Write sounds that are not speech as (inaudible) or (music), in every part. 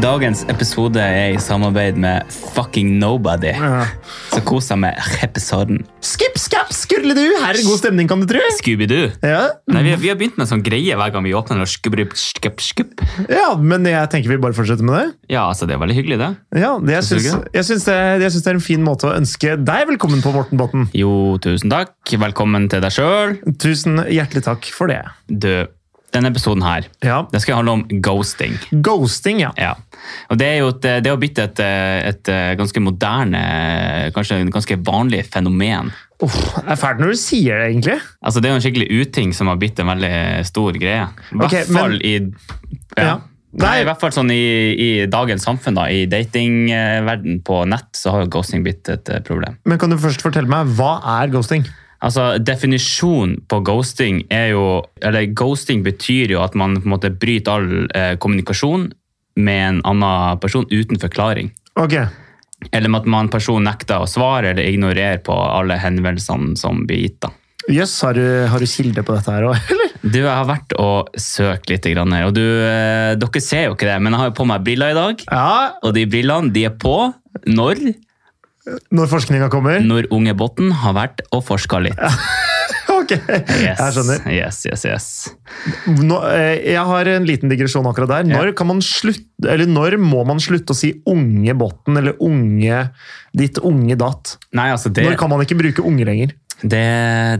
Dagens episode er i samarbeid med Fucking Nobody. Så kos deg med episoden. Skip, skap, skurle du! Her er det god stemning, kan du tro. Scooby-Doo. Ja. Nei, vi, har- vi har begynt med en sånn greie hver gang vi åpner. noe Skubbrubb, skubb, skubb. ja, men jeg tenker vi bare fortsetter med det. Ja, altså, det er veldig hyggelig, det. Ja, det, jeg, Synes syns, du jeg, syns det, jeg syns det er en fin måte å ønske deg velkommen på, Morten Botten. Jo, tusen takk. Velkommen til deg sjøl. Tusen hjertelig takk for det. Du, denne episoden her, Ja, det skal handle om ghosting. Ghosting, ja. Ja. Og det er jo et, det er å bytte et, et ganske moderne, kanskje en ganske vanlig fenomen. Uff, det er fælt når du sier det, egentlig. Altså, det er jo en skikkelig uting som har blitt en veldig stor greie. I hvert Ok, men- fall i ja. Ja. Nei, Nei. i hvert fall sånn i, i dagens samfunn, da. I datingverden på nett så har jo ghosting blitt et eh, problem. Men kan du først fortelle meg, hva er ghosting? Altså, Definisjonen på ghosting er jo Eller ghosting betyr jo at man på en måte bryter all eh, kommunikasjon med en annen person uten forklaring. Ok, Eller med at man person nekter å svare eller ignorerer på alle henvendelsene som blir gitt. da. jøss, har, du- har du kilde på dette her òg, (laughs) eller? Du, jeg har vært og søkt litt, grann her, og du, eh, dere ser jo ikke det, men jeg har jo på meg briller i dag. Ja, Og de brillene de er på når, når forskninga kommer? (laughs) når unge Botten har vært og forska litt. Ok, jeg skjønner. Yes, yes, yes. Nå, eh, jeg har en liten digresjon akkurat der. Når, kan man slutt, eller når må man slutte å si unge botten eller unge ditt unge datt? Nei, altså, det, Når kan man ikke bruke unge lenger? det,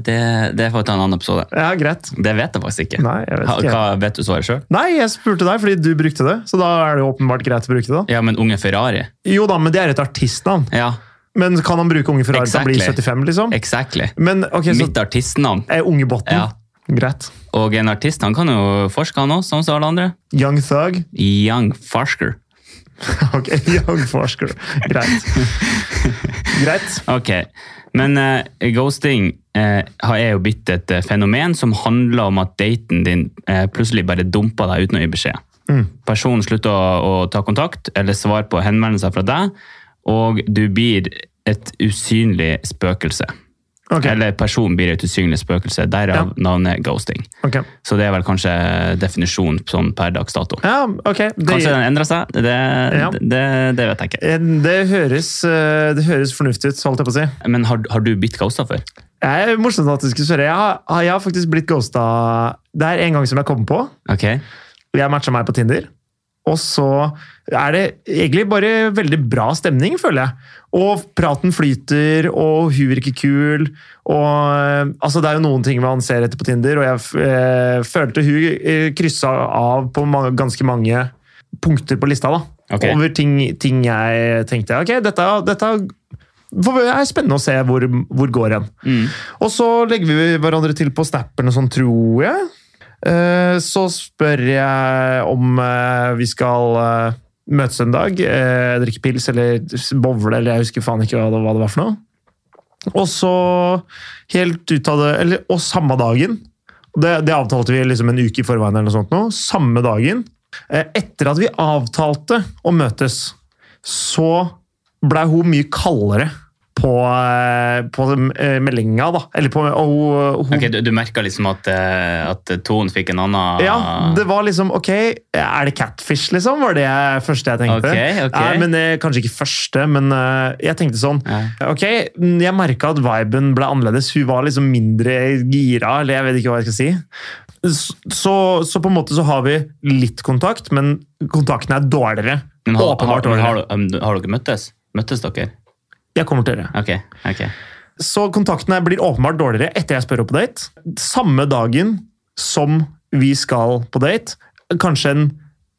det, det får vi ta en annen episode. Ja, greit. Det vet jeg faktisk ikke. Nei, jeg vet Ha- ikke. Hva vet du svaret sjøl? Nei, jeg spurte deg fordi du brukte det, så da er det jo åpenbart greit å bruke det. da. Ja, men unge Ferrari? Jo da, men det er et artistnavn. Ja, Men kan han bruke unge Ferrari til å bli Exactly. 75, liksom? exactly. Men ok, så Mitt artistnavn. er unge botten. Ja. Greit. Og en artist han kan jo forske, han òg, sånn som alle andre. Young thug. (laughs) Young Farsker. Ok, young forsker. Greit. (laughs) Greit. Ok, men eh, ghosting eh, har er jo blitt et eh, fenomen som handler om at daten din eh, plutselig bare dumper deg uten å gi beskjed. Mm. Personen slutter å, å ta kontakt eller svare på henvendelser fra deg, og du blir et usynlig spøkelse. Ok, Eller personen blir et usynlig spøkelse, derav navnet ghosting. ok. Så det er vel kanskje definisjonen sånn per dags dato. Ja, ok. Det, Kanskje den endrer seg, det, Ja. det, det, det vet jeg ikke. Eh, Det høres, eh, det høres fornuftig ut, holdt jeg på å si. Men har, har du blitt ghosta før? Jeg er morsomt at du skulle spørre. Jeg har, jeg har faktisk blitt ghosta Det er en gang som jeg kom på. Ok, Jeg matcha meg på Tinder. Og så er det egentlig bare veldig bra stemning, føler jeg. Og praten flyter, og hun virker kul. Og eh, altså, det er jo noen ting man ser etter på Tinder, og jeg f- eh, følte hun eh, kryssa av på mange, ganske mange punkter på lista, da. Ok. Over ting, ting jeg tenkte Ok, dette, dette er spennende å se hvor, hvor går hen. Mm. Og så legger vi hverandre til på snapperen og sånn, tror jeg. Eh, Så spør jeg om eh, vi skal eh, møtes en dag, eh, drikke pils eller bowle, eller jeg husker faen ikke hva det, hva det var for noe. Og så helt ut av det eller, Og samme dagen. Det, det avtalte vi liksom en uke i forveien. eller noe sånt nå, Samme dagen. eh, Etter at vi avtalte å møtes, så blei hun mye kaldere på, eh, på eh, meldinga, da. Eller på og hun, hun Ok, du, du merka liksom at, eh, at tonen fikk en annen Ja, det var liksom Ok, er det catfish, liksom? Var det første jeg tenkte. Ok, ok. Nei, men eh, Kanskje ikke første, men eh, jeg tenkte sånn Ja. Ok, mm, jeg merka at viben ble annerledes. Hun var liksom mindre gira, eller jeg vet ikke hva jeg skal si. S- Så, så på en måte så har vi litt kontakt, men kontakten er dårligere. Men har, har, Åpenbart har, dårligere. har, um, har dere møttes? Møttes dere? Jeg kommer til det. Ok. ok. Så kontakten her blir åpenbart dårligere etter jeg spør opp på date. Samme dagen som vi skal på date, kanskje en,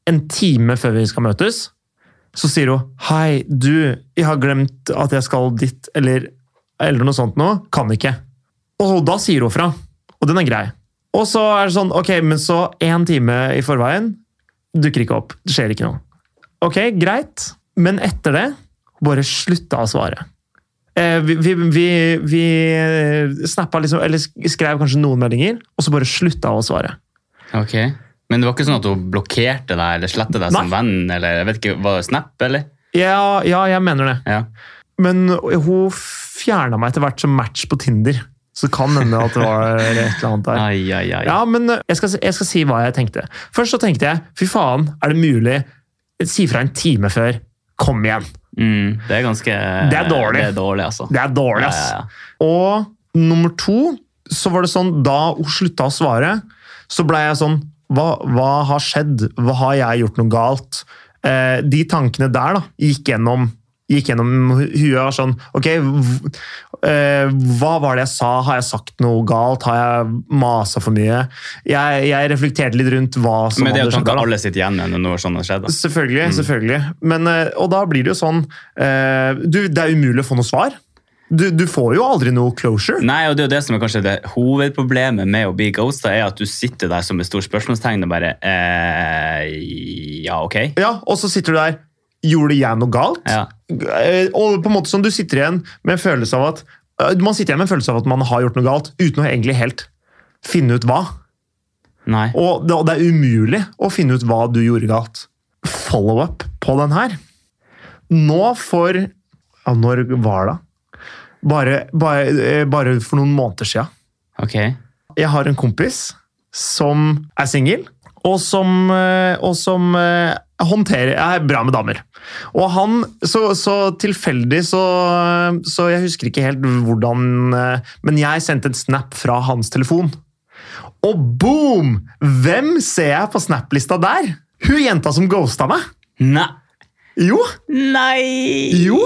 en time før vi skal møtes, så sier hun 'Hei, du, jeg har glemt at jeg skal dit', eller, eller noe sånt nå. Kan ikke. Og da sier hun fra. Og den er grei. Og så er det sånn, ok, men så én time i forveien dukker ikke opp. Det skjer ikke noe. Ok, greit. Men etter det, bare slutta å svare. Eh, vi vi, vi, vi snappa liksom, eller sk- skrev kanskje noen meldinger, og så bare slutta å svare. ok. Men det var ikke sånn at hun blokkerte deg eller slettet deg som Nei. venn? eller jeg vet ikke, Var det Snap, eller? Ja, ja jeg mener det. Ja. Men hun fjerna meg etter hvert som match på Tinder. Så det kan hende at det var et eller (laughs) annet der. Ai, ai, ai. Ja, men eh, jeg skal, si- jeg skal si hva jeg tenkte. Først så tenkte jeg fy faen, er det mulig? Si fra en time før. Kom igjen! Mm, det er ganske Det er dårlig. Det er dårlig, altså. Det er dårlig, ass. Ja, ja, ja. Og nummer to, så var det sånn Da hun slutta å svare, så blei jeg sånn hva, hva har skjedd? Hva har jeg gjort noe galt? Eh, de tankene der da, gikk gjennom, gikk gjennom hu- huet. og var Sånn, ok, v- eh, hva var det jeg sa? Har jeg sagt noe galt? Har jeg masa for mye? Jeg, jeg reflekterte litt rundt hva sånn som Men det er hadde jo skjedd. tanker da. alle sitter igjen med når noe sånt har skjedd. Da. Selvfølgelig. selvfølgelig. Men, eh, og da blir det jo sånn eh, du, Det er umulig å få noe svar. Du, du får jo aldri noe closure. Nei, og det er jo det som er kanskje det hovedproblemet med å bli ghosta, er at du sitter der som et stort spørsmålstegn og bare eh, Ja, ok? Ja, Og så sitter du der Gjorde jeg noe galt? Ja. Eh, Og på en måte som du sitter igjen med en følelse av at eh, man sitter igjen med en følelse av at man har gjort noe galt, uten å egentlig helt finne ut hva. Nei. Og det, og det er umulig å finne ut hva du gjorde galt. Follow-up på den her. Nå for ja, Når var det? Bare, bare, eh, bare for noen måneder sia. Ok. Jeg har en kompis som er singel, og som, eh, og som eh, håndterer, er bra med damer. Og han, så, så tilfeldig, så, så jeg husker ikke helt hvordan eh, Men jeg sendte en snap fra hans telefon. Og boom! Hvem ser jeg på snap-lista der? Hun jenta som ghosta meg! Nei! Jo, Nei! Jo.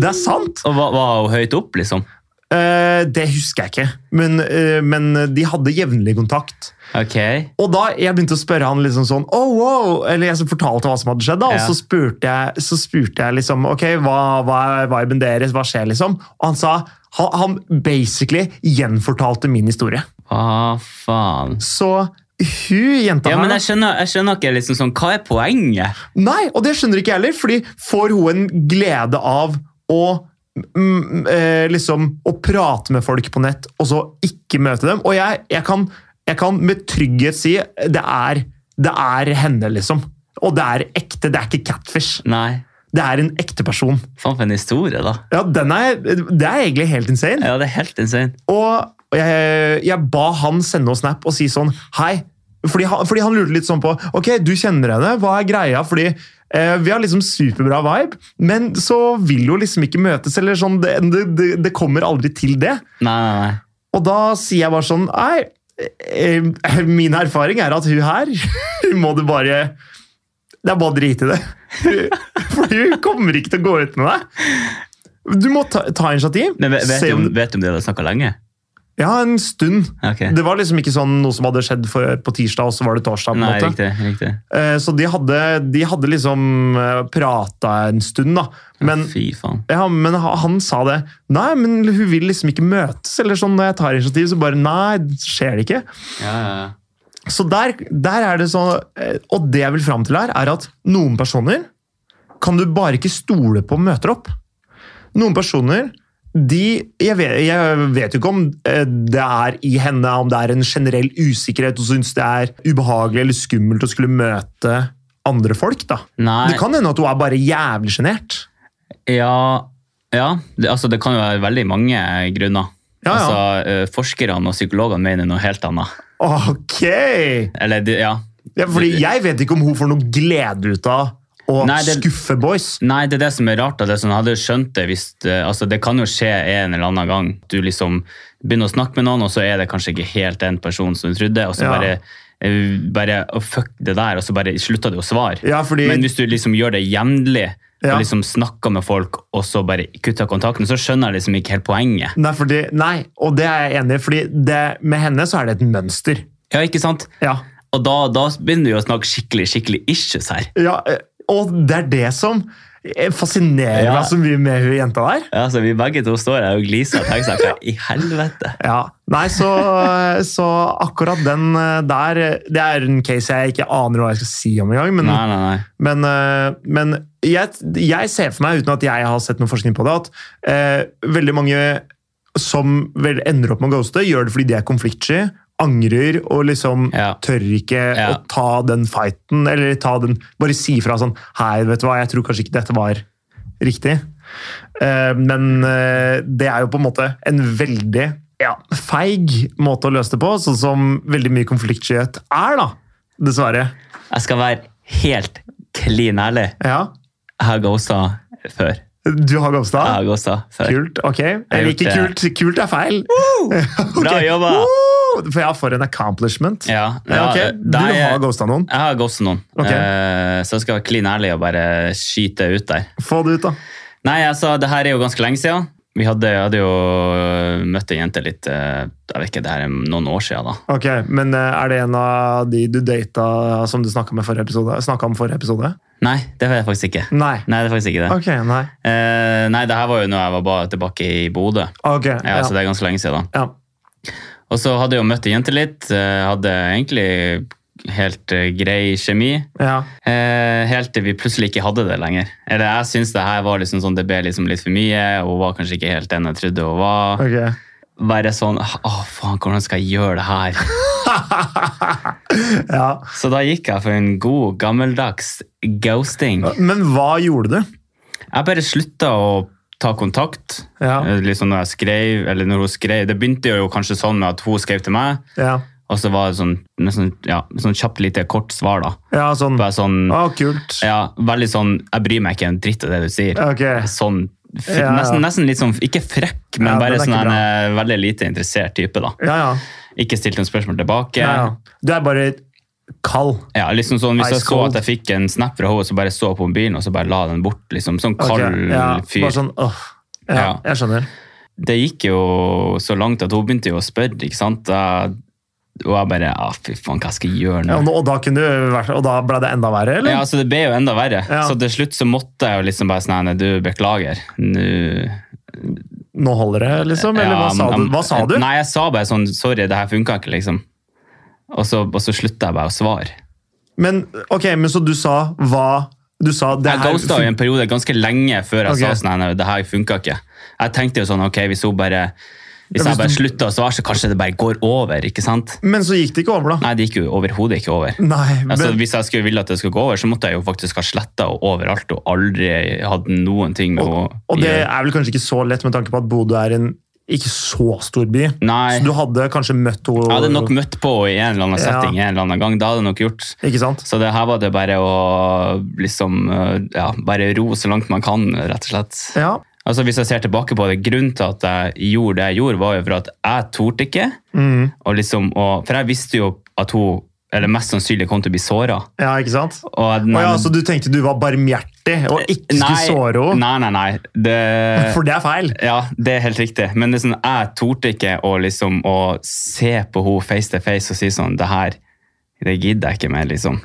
det er sant! Og var, var hun høyt opp, liksom? Eh, det husker jeg ikke, men, eh, men de hadde jevnlig kontakt. Ok. Og da jeg begynte å spørre han liksom sånn oh, wow, Eller jeg som fortalte hva som hadde skjedd, da, Ja. og så spurte jeg, så spurte jeg liksom Ok, hva, hva, er viben deres? Hva skjer, liksom? Og han sa han, han basically gjenfortalte min historie. Hva faen? Så hun jenta Ja, her men jeg skjønner, jeg skjønner ikke liksom sånn, Hva er poenget? Nei, og det skjønner ikke jeg heller, fordi får hun en glede av å mm, eh, liksom å prate med folk på nett, og så ikke møte dem? Og jeg, jeg, kan, jeg kan med trygghet si det er, det er henne, liksom. Og det er ekte, det er ikke catfish. Nei. Det er en ekte person. Faen for en historie, da. Ja, den er, Det er egentlig helt insane. Ja, det er helt insane. Og jeg, jeg ba han sende oss snap og si sånn Hei. Fordi han, fordi han lurte litt sånn på Ok, du kjenner henne. Hva er greia? Fordi eh, vi har liksom superbra vibe, men så vil jo liksom ikke møtes. eller sånn, Det, det, det, det kommer aldri til det. Nei, nei, nei. Og da sier jeg bare sånn Nei, eh, min erfaring er at hun her (laughs) Hun må du bare Det er bare å drite i det. (laughs) For hun kommer ikke til å gå ut med deg. Du må ta, ta initiativ. Men vet, vet, se du om, om- vet du om de hadde snakka lenge? Ja, en stund. Ok. Det var liksom ikke sånn noe som hadde skjedd for, på tirsdag, og så var det torsdag. på en Nei, måte. riktig. riktig. Eh, Så de hadde, de hadde liksom prata en stund, da. Men, Fy faen. ja, men ha- han sa det. Nei, men hun vil liksom ikke møtes. Eller sånn når jeg tar initiativ, så bare Nei, skjer det ikke. Ja, ja, ja. Så der, der er det sånn eh, Og det jeg vil fram til her, er at noen personer kan du bare ikke stole på møter opp. Noen personer de, jeg, vet, jeg vet jo ikke om eh, det er i henne, om det er en generell usikkerhet og syns det er ubehagelig eller skummelt å skulle møte andre folk. da. Nei. Det kan hende at hun er bare jævlig sjenert. Ja, ja. Det, altså, det kan jo være veldig mange grunner. Ja, ja. Altså, eh, Forskerne og psykologene mener noe helt annet. Ok! Eller, de- ja. Ja, fordi jeg vet ikke om hun får noe glede ut av å Nei, det- skuffe boys. Nei, det er det som er rart. At jeg sånn, hadde skjønt det hvis eh, altså, Det kan jo skje en eller annen gang. Du liksom begynner å snakke med noen, og så er det kanskje ikke helt den personen som du trodde. Og så Ja. bare, eh, bare «Å, fuck det der, og så bare slutter du å svare. Ja, fordi... Men hvis du liksom gjør det jevnlig, Ja. og liksom snakker med folk, og så bare kutter kontakten, så skjønner jeg liksom ikke helt poenget. Nei, fordi, nei, og det er jeg enig i, fordi det, med henne så er det et mønster. Ja, ikke sant? Ja. Og da, da begynner vi å snakke skikkelig skikkelig issues her. ja, eh, og det er det som eh, fascinerer Ja. meg så mye med hun jenta der. Ja, så Vi begge to står her og gliser og tenker sånn, hva i (laughs) helvete? Ja, nei, så, eh, så akkurat den eh, der, eh, det er en case jeg ikke aner hva jeg skal si om engang, men, Nei, nei, nei. men, eh, men jeg, jeg ser for meg, uten at jeg har sett noen forskning på det, at eh, veldig mange som vel ender opp med å ghoste, gjør det fordi de er konfliktsky, angrer og liksom Ja. tør ikke Ja. å ta den fighten, eller ta den, bare si fra sånn Hei, vet du hva, jeg tror kanskje ikke dette var riktig. Eh, men eh, det er jo på en måte en veldig ja, feig måte å løse det på, sånn som veldig mye konfliktskyhet er, da. Dessverre. Jeg skal være helt klin ærlig. Ja. Jeg har ghosta før. Du har Gomstad? Jeg har ghosta før. Kult. Ok. har Eller ikke gjort kult. Kult er feil. (laughs) Ok. Bra jobba! Woo! For ja, for en accomplishment. Ja, Ja, ok. ja, Du da er- har ghosta noen. Jeg har ghosta noen, Ok. Eh, så jeg skal være klin ærlig og bare skyte ut der. Få det ut, da. Nei, altså, det her er jo ganske lenge siden. Vi hadde, jeg hadde jo øh, møtt ei jente litt eh, Jeg vet ikke, det her er noen år siden, da. Ok, Men eh, er det en av de du data som du snakka om i forrige episode? Snakket om forrige episode? Nei, det var jeg faktisk ikke. Nei. Nei, det er faktisk ikke det. Ok, nei. Eh, nei, det her var jo når jeg var bare tilbake i Bodø. Ok, Ja, ja. Så det er ganske lenge siden. da. ja. Og så hadde jeg jo møtt ei jente litt. eh, hadde egentlig helt eh, grei kjemi. ja. Eh, helt til vi plutselig ikke hadde det lenger. Eller jeg syns det her var liksom sånn, det ble liksom litt for mye, og hun var kanskje ikke helt den jeg trodde hun var. Ok. Bare sånn Å, faen, hvordan skal jeg gjøre det her? (laughs) ja. Så da gikk jeg for en god, gammeldags ghosting. Men hva gjorde du? Jeg bare slutta å ta kontakt. Ja. Eh, Liksom når jeg skrev, eller når hun skrev. Det begynte jo kanskje sånn med at hun skrev til meg, Ja, og så var det sånn, nesten, ja, sånn kjapt lite kort svar, da. ja sånn Å, Bare sånn kult. Ja, veldig sånn Jeg bryr meg ikke en dritt av det du sier. Ok. Sånn f Ja, ja. Nesten, nesten litt sånn Ikke frekk, men Ja, bare den er sånn ikke en eh, veldig lite interessert type, da. Ja, ja. Ikke stilt noen spørsmål tilbake. ja, ja. Du er bare kald. Ja, liksom sånn, Hvis Ice jeg så cold. at jeg fikk en snap fra henne, så bare så på mobilen og så bare la den bort. liksom Sånn kald Ok, ja. fyr. Bare sånn åh. Ja, Ja. jeg skjønner. Det gikk jo så langt at hun begynte jo å spørre. ikke sant? Da, og jeg bare ah, Fy faen, hva skal jeg gjøre nå? Ja, og, nå- og, da kunne du vært, og da ble det enda verre, eller? Ja, altså Det ble jo enda verre. Ja. Så til slutt så måtte jeg jo liksom bare sånn nei, Du, beklager. Nå Nå holder det, liksom? Eller Ja, hva, sa men- du? hva sa du? Nei, jeg sa bare sånn Sorry, det her funka ikke, liksom. Og så, og så slutta jeg bare å svare. Men ok, men så du sa hva Du sa det Jeg her ghosta jo en periode ganske lenge før jeg Ok. sa sånn, nei, det her funka ikke. Jeg tenkte jo sånn, ok, hvis hun bare hvis Ja, hvis jeg bare du- slutter å svare, så kanskje det bare går over. ikke sant? Men så gikk det ikke over, da. Nei, det gikk jo overhodet ikke over. Nei, men, Altså, Hvis jeg skulle ville at det skulle gå over, så måtte jeg jo faktisk ha sletta henne overalt og aldri hatt noen ting med henne å Og det gjøre. er vel kanskje ikke så lett med tanke på at Bodø er en ikke så stor by. Nei, Så du hadde kanskje møtt jeg henne hadde nok møtt på henne i en eller annen Ja. setting en eller annen gang. Det hadde jeg nok gjort. Ikke sant? Så det her var det bare å liksom eh, ja, bare ro så langt man kan, rett og slett. Ja. Altså Hvis jeg ser tilbake på det, grunnen til at jeg gjorde det jeg gjorde, var jo for at jeg torde ikke. Mm. Og liksom, og, for jeg visste jo at hun eller mest sannsynlig kom til å bli såra. ja, ikke sant? Og at- Å ja, så du tenkte du var barmhjertig og ikke skulle Nei, såre henne? Nei, nei, nei. Det, For det er feil. ja, det er helt riktig. Men det er sånn, jeg torde ikke å, liksom, å se på henne face to face og si sånn Det her det gidder jeg ikke mer, liksom.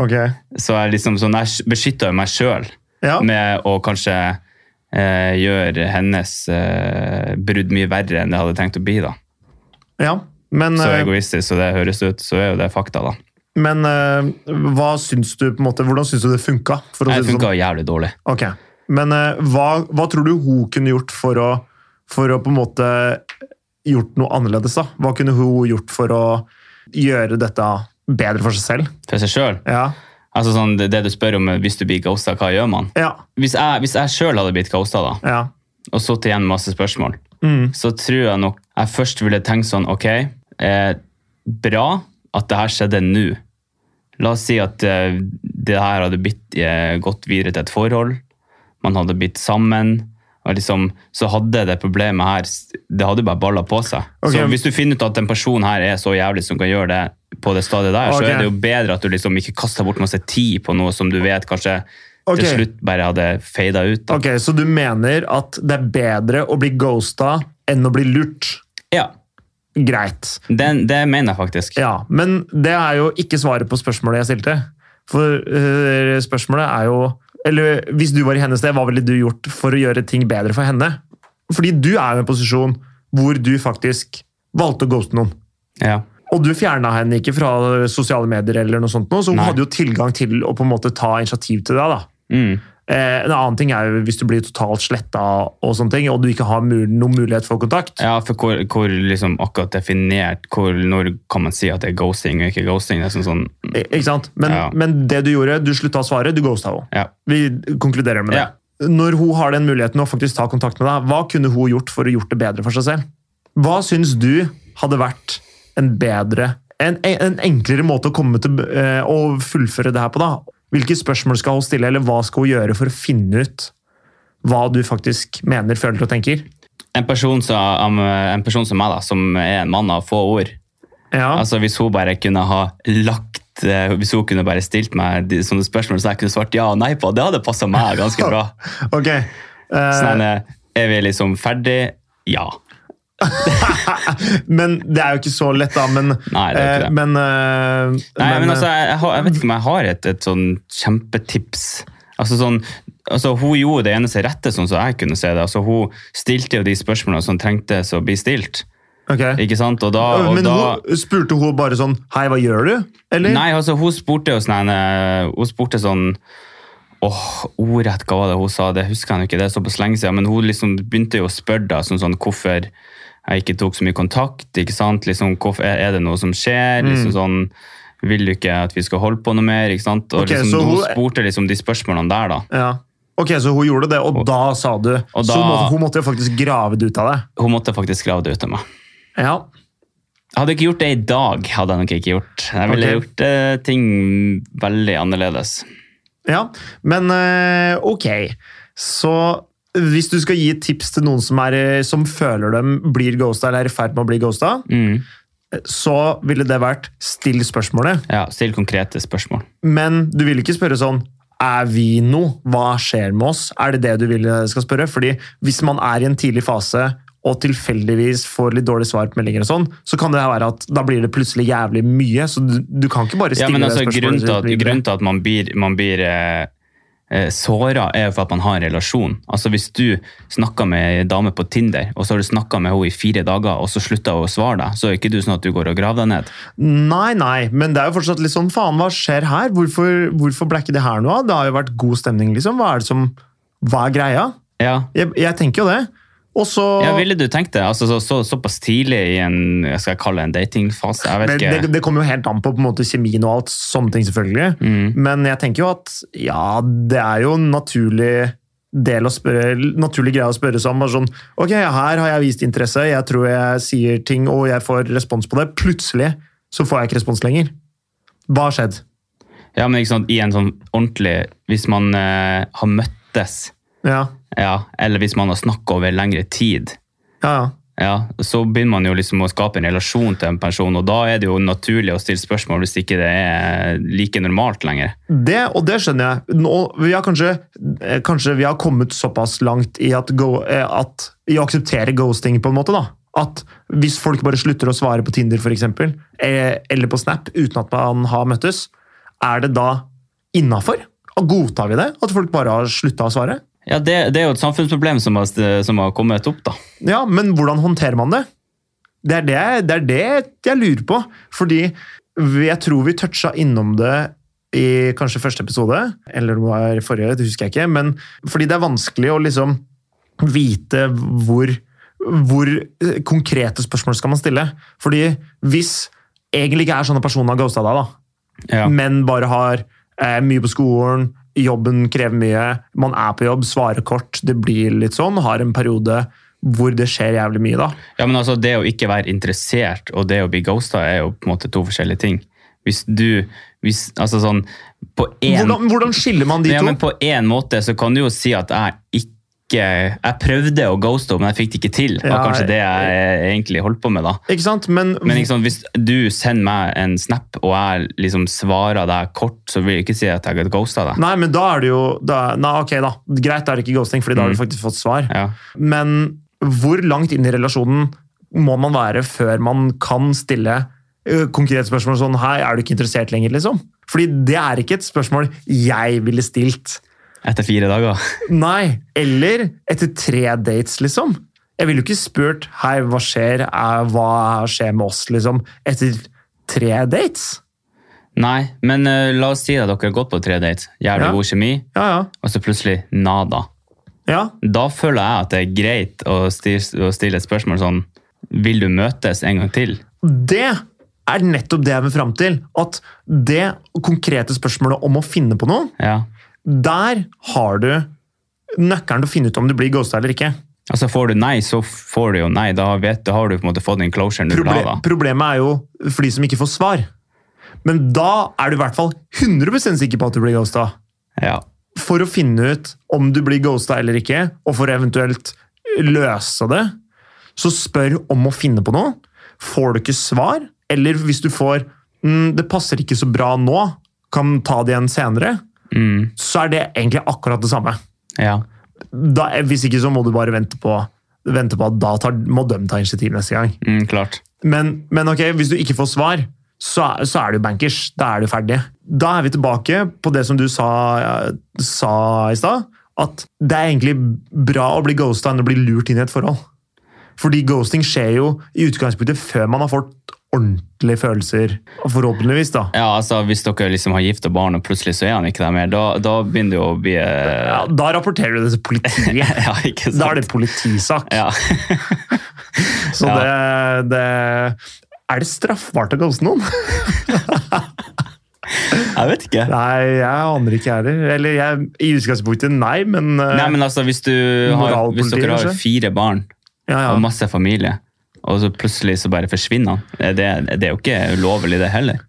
Ok. Så jeg liksom sånn, jeg beskytta jo meg sjøl. Ja. med å kanskje eh, gjøre hennes eh, brudd mye verre enn det hadde tenkt å bli. da. ja. Men, Så eh, egoistisk så det høres ut, så er jo det fakta, da. men eh, hva syns du på en måte, hvordan syns du det funka? For å Det si det sånn? funka jævlig dårlig. Ok. Men eh, hva, hva tror du hun kunne gjort for å, for å på en måte gjort noe annerledes? da? Hva kunne hun gjort for å gjøre dette bedre for seg selv? For seg sjøl. Ja. Altså sånn, det, det du spør om eh, hvis du blir ghosta, hva gjør man? Ja. Hvis jeg, hvis jeg sjøl hadde blitt ghosta, da, ja. og sittet igjen med masse spørsmål, Mm. så tror jeg nok jeg først ville tenkt sånn Ok, eh, bra at det her skjedde nå. La oss si at eh, det her hadde blitt, eh, gått videre til et forhold. Man hadde blitt sammen. Og liksom, så hadde det problemet her Det hadde bare balla på seg. Ok. Så hvis du finner ut at en person her er så jævlig som kan gjøre det på det stadiet der, så Ok. er det jo bedre at du liksom ikke kaster bort masse tid på noe som du vet kanskje Ok. til slutt bare hadde fada ut. Da. Ok, Så du mener at det er bedre å bli ghosta enn å bli lurt? Ja, Greit. den, det mener jeg faktisk. Ja, Men det er jo ikke svaret på spørsmålet jeg stilte. For eh, spørsmålet er jo Eller hvis du var i hennes sted, hva ville du gjort for å gjøre ting bedre for henne? Fordi du er jo i en posisjon hvor du faktisk valgte å ghoste noen. Ja. Og du fjerna henne ikke fra sosiale medier, eller noe sånt, nå, så hun Nei. hadde jo tilgang til å på en måte ta initiativ til deg. da. Mm. Eh, en annen ting er jo hvis du blir totalt sletta og sånne ting, og du ikke har mul noen mulighet for kontakt. Ja, for hvor, hvor liksom akkurat definert hvor, Når kan man si at det er ghosting og ikke ghosting? Det er sånn, sånn I- Ikke sant? Men, Ja. men det du gjorde, du slutta å svare, du ghosta henne. ja. Vi konkluderer med det. Ja. Når hun har den muligheten å faktisk ta kontakt med deg, hva kunne hun gjort for å gjort det bedre for seg selv? Hva syns du hadde vært en bedre, en, en enklere måte å komme til eh, å fullføre det her på, da? Hvilke spørsmål skal hun stille, eller hva skal hun gjøre for å finne ut hva du faktisk mener, føler og tenker? En person, som, um, en person som meg, da, som er en mann av få ord Ja, Altså Hvis hun bare kunne ha lagt eh, Hvis hun kunne bare stilt meg de- sånne spørsmål så jeg kunne svart ja og nei på, det hadde passa meg ganske bra. ok. Eh, Sånn, eh, er vi liksom ferdig? Ja. men det er jo ikke så lett, da. Men, Nei, det er ikke eh, det. men, eh, Nei, men, men, altså, jeg, jeg, har- jeg vet ikke om jeg har et, et sånn kjempetips. Altså sånn, altså Hun gjorde det eneste rette, sånn som jeg kunne se det. Altså Hun stilte jo de spørsmålene som trengtes å bli stilt. ok. Ikke sant? Og da, og men da hun, spurte hun bare sånn Hei, hva gjør du? Eller? Nei, altså, hun spurte jo sånn eh, Hun spurte sånn Åh, ordrett hva var det hun sa? Det husker jeg nå ikke, det er såpass lenge siden. Men hun liksom begynte jo å spørre da, sånn, sånn hvorfor jeg ikke tok så mye kontakt. ikke sant? Liksom, hvorfor, er er det noe som skjer? Mm. Liksom sånn, Vil du ikke at vi skal holde på noe mer? ikke sant? Og Ok, liksom, så hun, hun- spurte liksom de spørsmålene der, da. Ja. Ok, Så hun gjorde det, og, da sa du og Så da- hun måtte, hun måtte jo faktisk grave det ut av deg. Hun måtte faktisk grave det ut av meg. Ja. Jeg hadde ikke gjort det i dag, hadde jeg nok ikke gjort. Jeg ville Ok. gjort eh, ting veldig annerledes. ja. Men eh, ok, så hvis du skal gi et tips til noen som, er, eh, som føler dem blir ghosta, eller er i ferd med å bli ghosta, Mm. så ville det vært still spørsmålet. Ja, Still konkrete spørsmål. Men du vil ikke spørre sånn er vi noe? Hva skjer med oss? Er det det du vil jeg skal spørre? Fordi hvis man er i en tidlig fase og tilfeldigvis får litt dårlig svar på meldinger, og sånn, så kan det her være at da blir det plutselig jævlig mye. Så du, du kan ikke bare Ja, stille men altså, det grunnen spørsmålet. til at, videre. grunnen til at man blir, man blir eh, eh, såra, er jo for at man har en relasjon. Altså, Hvis du snakker med ei dame på Tinder, og så har du snakka med henne i fire dager, og så slutter hun å svare deg, så er ikke du sånn at du går og graver deg ned. Nei, nei, men det er jo fortsatt litt sånn faen, hva skjer her? Hvorfor, hvorfor ble ikke det her noe av? Det har jo vært god stemning, liksom. Hva er det som Hva er greia? Ja, Jeg, jeg tenker jo det. Og så ja Ville du tenkt det? Altså, så, så, Såpass tidlig i en jeg skal kalle det en datingfase? Jeg vet Men ikke. det, det kommer jo helt an på, på en måte, kjemien og alt, sånne ting selvfølgelig. Mm. Men jeg tenker jo at ja, det er jo en naturlig del å spørre, naturlig greie å spørre seg om. Bare sånn, ok, her har jeg vist interesse, jeg tror jeg sier ting, og jeg får respons på det. Plutselig så får jeg ikke respons lenger. Hva har skjedd? Ja, men ikke sant, i en sånn ordentlig Hvis man eh, har møttes, Ja, ja, eller hvis man har snakka over lengre tid, ja, ja. Ja, så begynner man jo liksom å skape en relasjon til en person, og da er det jo naturlig å stille spørsmål hvis ikke det er like normalt lenger. Det, og det skjønner jeg. Nå, vi har kanskje, eh, kanskje vi har kommet såpass langt i, at go, eh, at, i å akseptere ghosting, på en måte. da. At hvis folk bare slutter å svare på Tinder for eksempel, eh, eller på Snap uten at man har møttes, er det da innafor? Godtar vi det? At folk bare har slutta å svare? Ja, det, det er jo et samfunnsproblem som har, som har kommet opp, da. Ja, men hvordan håndterer man det? Det er det, det er det jeg lurer på. Fordi vi- jeg tror vi toucha innom det i kanskje første episode, eller om det var i forrige, det husker jeg ikke. Men fordi det er vanskelig å liksom vite hvor, hvor eh, konkrete spørsmål skal man stille. Fordi hvis egentlig ikke er sånne personer har ghosta deg, da, Ja. men bare har eh, mye på skolen, jobben krever mye, man er på jobb, svarer kort, det blir litt sånn, har en periode hvor det skjer jævlig mye da. ja, men altså, det å ikke være interessert og det å bli ghosta er jo på en måte to forskjellige ting. Hvis du hvis, Altså sånn på én Hvordan, hvordan skiller man de ja, men to? på en måte så kan du jo si at jeg ikke Jeg prøvde å ghoste henne, men jeg fikk det ikke til. Det var Ja, kanskje det jeg eh, egentlig holdt på med, da. Ikke sant? Men, Men ikke sant, hvis du sender meg en snap, og jeg liksom svarer deg kort, så vil jeg ikke si at jeg har ghosta deg. Nei, men da er det jo da, Nei, ok, da. Greit, da er det ikke ghosting, fordi da har du faktisk fått svar. Mm. Ja. Men hvor langt inn i relasjonen må man være før man kan stille ø, konkrete spørsmål sånn Hei, er du ikke interessert lenger, liksom? Fordi det er ikke et spørsmål jeg ville stilt. Etter fire dager. (laughs) Nei, eller etter tre dates, liksom. Jeg ville jo ikke spurt hei, hva skjer, Eh, hva skjer med oss, liksom, etter tre dates. Nei, men eh, la oss si at dere har gått på tre dates, jævlig Ja. god kjemi, Ja, ja. og så plutselig nada. Ja, Da føler jeg at det er greit å stille, å stille et spørsmål sånn Vil du møtes en gang til? Det er nettopp det jeg vil fram til. At det konkrete spørsmålet om å finne på noe, Ja. der har du nøkkelen til å finne ut om du blir ghosta eller ikke. Og så får du nei, så får du jo nei. Da, vet, da har du på en måte fått den closuren du vil ha. Proble da. problemet er jo for de som ikke får svar. Men da er du i hvert fall 100 sikker på at du blir ghosta. Ja. For å finne ut om du blir ghosta eller ikke, og for å eventuelt løse det, så spør om å finne på noe. Får du ikke svar, eller hvis du får mm, 'det passer ikke så bra nå, kan ta det igjen senere', Mm. så er det egentlig akkurat det samme. Ja. Da, hvis ikke så må du bare vente på, vente på at da tar, må de ta initiativ neste gang. Mm, klart. Men, men ok, hvis du ikke får svar, så, er- så er du bankers. Da er du ferdig. Da er vi tilbake på det som du sa, eh, sa i stad, at det er egentlig bra å bli ghosta enn å bli lurt inn i et forhold. Fordi ghosting skjer jo i utgangspunktet før man har fått ordentlige følelser, forhåpentligvis. da. Ja, altså Hvis dere liksom har gift og barn, og plutselig så er han ikke der mer, da, da begynner det jo å bli eh, Ja, da rapporterer du det til politiet. (laughs) Ja, ikke (laughs) sant? Da er det politisak. ja. Så det, det Er det straffbart å ghoste noen? (laughs) Jeg vet ikke. Nei, jeg aner ikke heller. Eller jeg, i utgangspunktet, nei, men, eh, Nei, men altså, Hvis, du har, hvis Moralpoliti, dere har kanskje? fire barn ja, ja. og masse familie, og så plutselig så bare forsvinner han, Eh, det, det er jo ikke ulovlig, det heller.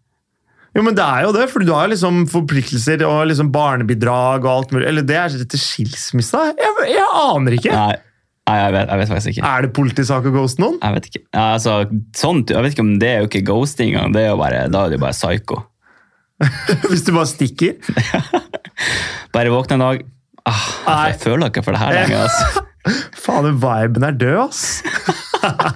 Jo, men det er jo det, for du har liksom forpliktelser og liksom barnebidrag og alt mulig. Eller det er til skilsmisse? da? Jeg, jeg aner ikke. Nei, Nei jeg, vet, jeg vet faktisk ikke. Er det politisak å ghoste noen? (laughs) Jeg vet ikke. Ja, altså, sånt, jeg vet ikke om det er jo ikke ghosting engang. Det er jo bare, da er det jo bare psycho. Hvis du bare stikker? Bare våkne en dag ah, Nei. Jeg føler ikke for det her lenger. Altså. Faen, den viben er død, ass! (laughs)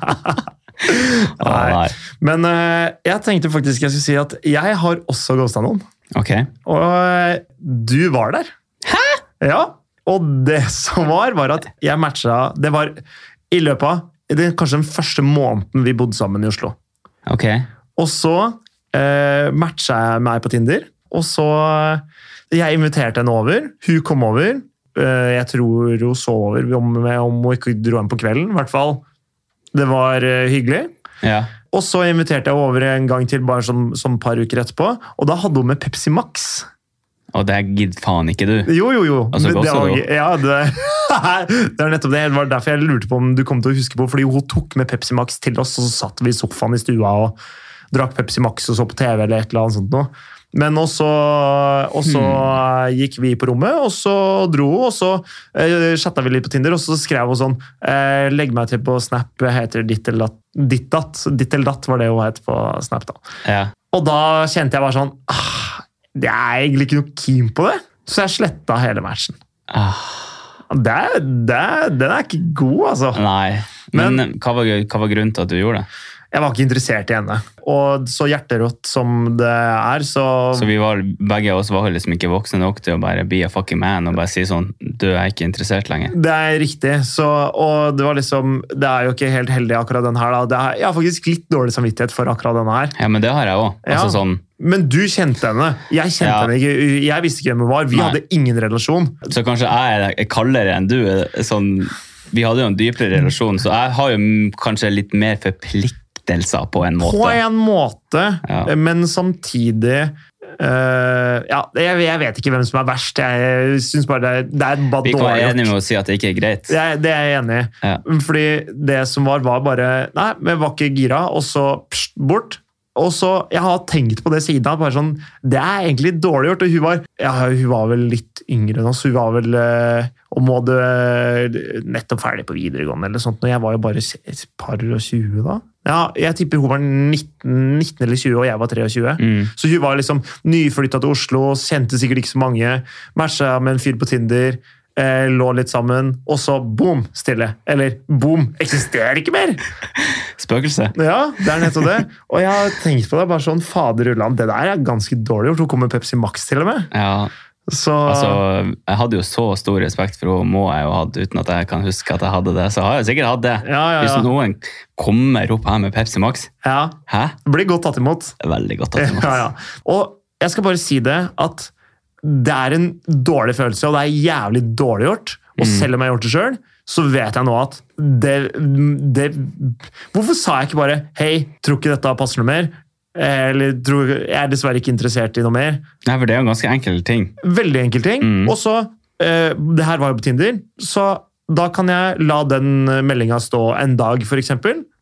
Ah, (laughs) nei. Men eh, jeg tenkte faktisk jeg skulle si at jeg har også ghosta noen. Ok. Og eh, du var der. Hæ?! Ja. Og det (laughs) som var, var at jeg matcha Det var i løpet av det, kanskje den første måneden vi bodde sammen i Oslo. ok. Og så eh, matcha jeg meg på Tinder, og så eh, Jeg inviterte henne over. Hun kom over. Eh, jeg tror hun så over om, om hun ikke dro hjem på kvelden, i hvert fall. Det var eh, hyggelig. Ja. Og så inviterte jeg henne over en gang til, bare sånn sånn par uker etterpå. Og da hadde hun med Pepsi Max. Og det her gidder faen ikke du. Jo, jo, jo. Altså, Men det, ghosta var, du? ja, det, det er (laughs) nettopp det. Det var derfor jeg lurte på om du kom til å huske på, fordi hun tok med Pepsi Max til oss, og så satt vi i sofaen i stua og drakk Pepsi Max og så på TV eller et eller annet sånt noe. Men også, og så gikk vi på rommet, og så dro hun, og så eh, chatta vi litt på Tinder, og så skrev hun sånn eh, Legg meg til på Snap, jeg heter ditt eller datt. Ditt datt, ditt eller datt var det hun het på Snap, da. Ja. Og da kjente jeg bare sånn ah, Det er egentlig ikke noe keen på det. Så jeg sletta hele matchen. Ah, Det, er- det, er- den er ikke god, altså. nei. Men, hva, var, hva var grunnen til at du gjorde det? Jeg var ikke interessert i henne. Og så hjerterått som det er, så, Så vi var, Begge av oss var liksom ikke voksne nok til å bare be a fucking man og bare si sånn Du jeg er ikke interessert lenger. Det er riktig. Så, og det var liksom Det er jo ikke helt heldig, akkurat den her. Da. Det er, jeg har faktisk litt dårlig samvittighet for akkurat denne her. Ja, men det har jeg òg. Ja. Altså sånn Men du kjente henne. Jeg kjente Ja. henne ikke. Jeg visste ikke hvem hun var. Vi Nei. hadde ingen relasjon. Så kanskje jeg er kaldere enn du. Sånn, vi hadde jo en dypere relasjon, så jeg har jo m- kanskje litt mer forpliktelser på en måte. På en måte, Ja. men samtidig eh, ja, jeg, jeg vet ikke hvem som er verst. Jeg syns bare det er, det er bare Vi kan dårlig være gjort. enige med å si at det ikke er greit. Jeg- Det er jeg enig i. Ja. Fordi det som var, var bare Nei, vi var ikke gira, og så pst, bort. Og så, Jeg har tenkt på det siden av. bare sånn, Det er egentlig dårlig gjort. og Hun var, ja, hun var vel litt yngre enn oss. Hun var vel eh, og må det eh, nettopp ferdig på videregående eller sånt. Og jeg var jo bare et par og 20 da. Ja, Jeg tipper hun var 19, 19 eller 20, og jeg var 23. Mm. Så hun var liksom nyflytta til Oslo, kjente sikkert ikke så mange. Matcha med en fyr på Tinder, eh, lå litt sammen, og så boom, stille. Eller boom, eksisterer ikke mer! Spøkelse. Ja, det er nettopp det. Og jeg har tenkt på det, bare sånn fader ulland, det der er ganske dårlig gjort. Hun kom med Pepsi Max til og med. Ja, Så altså, jeg hadde jo så stor respekt for henne, må jeg jo ha hatt, uten at jeg kan huske at jeg hadde det. Så har jeg sikkert hatt det. ja, ja, Hvis ja. noen kommer opp her med Pepsi Max, ja. hæ? Blir godt tatt imot. Det er veldig godt tatt imot. (laughs) Ja, ja. Og jeg skal bare si det at det er en dårlig følelse, og det er jævlig dårlig gjort. Og selv om jeg har gjort det sjøl, så vet jeg nå at det, det Hvorfor sa jeg ikke bare 'hei, tror ikke dette passer noe mer'? Eller tror, 'jeg er dessverre ikke interessert i noe mer'? Nei, for det er jo en ganske enkel ting. Veldig enkel ting. Mm. Og så eh, Det her var jo på Tinder, så da kan jeg la den meldinga stå en dag, f.eks.,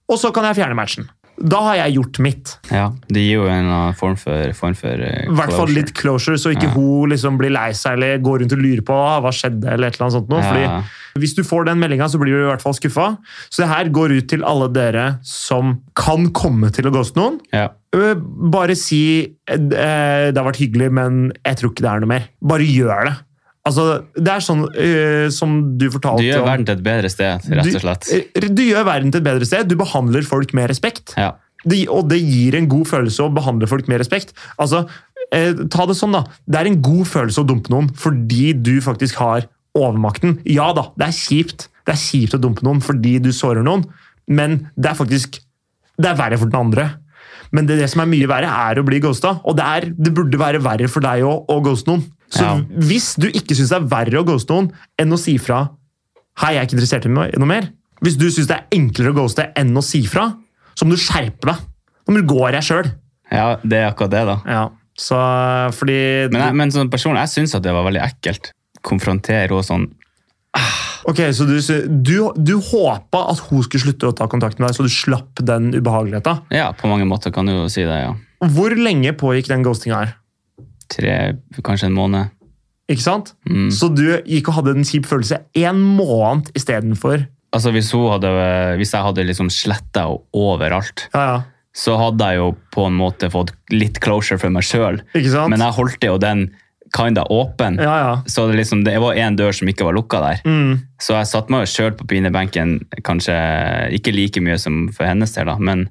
og så kan jeg fjerne matchen. Da har jeg gjort mitt. Ja, det gir jo en eller annen form for, form for eh, I hvert fall closure. litt closure, så ikke hun liksom blir lei seg eller går rundt og lurer på «Ah, hva skjedde. eller et eller annet sånt noe. Ja. Fordi Hvis du får den meldinga, så blir du i hvert fall skuffa. Så det her går ut til alle dere som kan komme til å ghoste noen. Ja. Ø, Bare si eh, det har vært hyggelig, men jeg tror ikke det er noe mer. Bare gjør det. Altså, Det er sånn eh, som du Du fortalte gjør om- verden til et bedre sted, rett og slett. Du, eh, du gjør verden til et bedre sted. Du behandler folk med respekt. Ja. Det- og det gir en god følelse å behandle folk med respekt. Altså, eh, ta det sånn da. Det er en god følelse å dumpe noen fordi du faktisk har overmakten. Ja da, det er kjipt. Det er kjipt å dumpe noen fordi du sårer noen, men det er faktisk det er verre for den andre. Men det, det som er mye verre, er å bli ghosta. Og det, er, det burde være verre for deg òg å ghoste noen. Så Ja. hvis du ikke syns det er verre å ghoste noen enn å si fra Hei, jeg er ikke interessert i noe, noe mer. Hvis du syns det er enklere å ghoste enn å si fra, så må du skjerpe deg. Nå må du gå av deg sjøl. ja, det er akkurat det, da. Ja. Så fordi Men, jeg, men sånn personlig, jeg syns at det var veldig ekkelt. Konfrontere henne sånn. Ok, så du, sy- du, du håpa at hun skulle slutte å ta kontakt med deg, så du slapp den ubehageligheta. Ja, på mange måter kan du jo si det, ja. Hvor lenge pågikk den ghostinga her? Tre, kanskje en måned. Ikke sant? Mm. Så du gikk og hadde en kjip følelse én måned istedenfor. Altså, hvis, hun hadde, hvis jeg hadde liksom sletta henne overalt, Ja, ja. så hadde jeg jo på en måte fått litt closure for meg sjøl. Ikke sant? Men jeg holdt jo den kinda åpen. ja, ja. Så det, liksom, det var én dør som ikke var lukka der. Mm. Så jeg satte meg jo sjøl på pinebenken, kanskje ikke like mye som for hennes del, da, men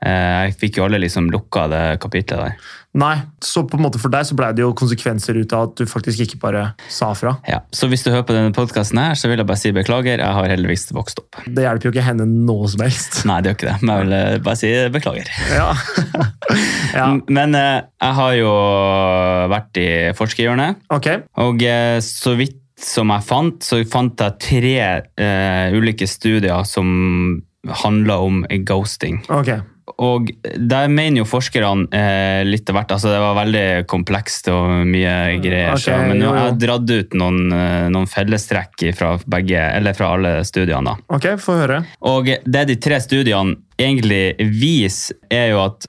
eh, jeg fikk jo alle liksom lukka det kapitlet der. Nei, så på en måte for deg så ble det jo konsekvenser ut av at du faktisk ikke bare sa fra. Ja. Så hvis du hører på denne podkasten her, så vil jeg bare si beklager, jeg har heldigvis vokst opp. Det hjelper jo ikke henne noe som (laughs) helst. Nei, det gjør ikke det, men jeg vil eh, bare si beklager. Ja. ja, Men eh, jeg har jo vært i forskerhjørnet, ok. og eh, så vidt som jeg fant, så fant jeg tre eh, ulike studier som handla om ghosting. Ok. Og der mener jo forskerne eh, litt av hvert. altså Det var veldig komplekst og mye greier. Ok, så, men nå jo, jo. har jeg dratt ut noen, eh, noen fellestrekk fra, begge, eller fra alle studiene. da. Ok, få høre. Og det de tre studiene egentlig viser, er jo at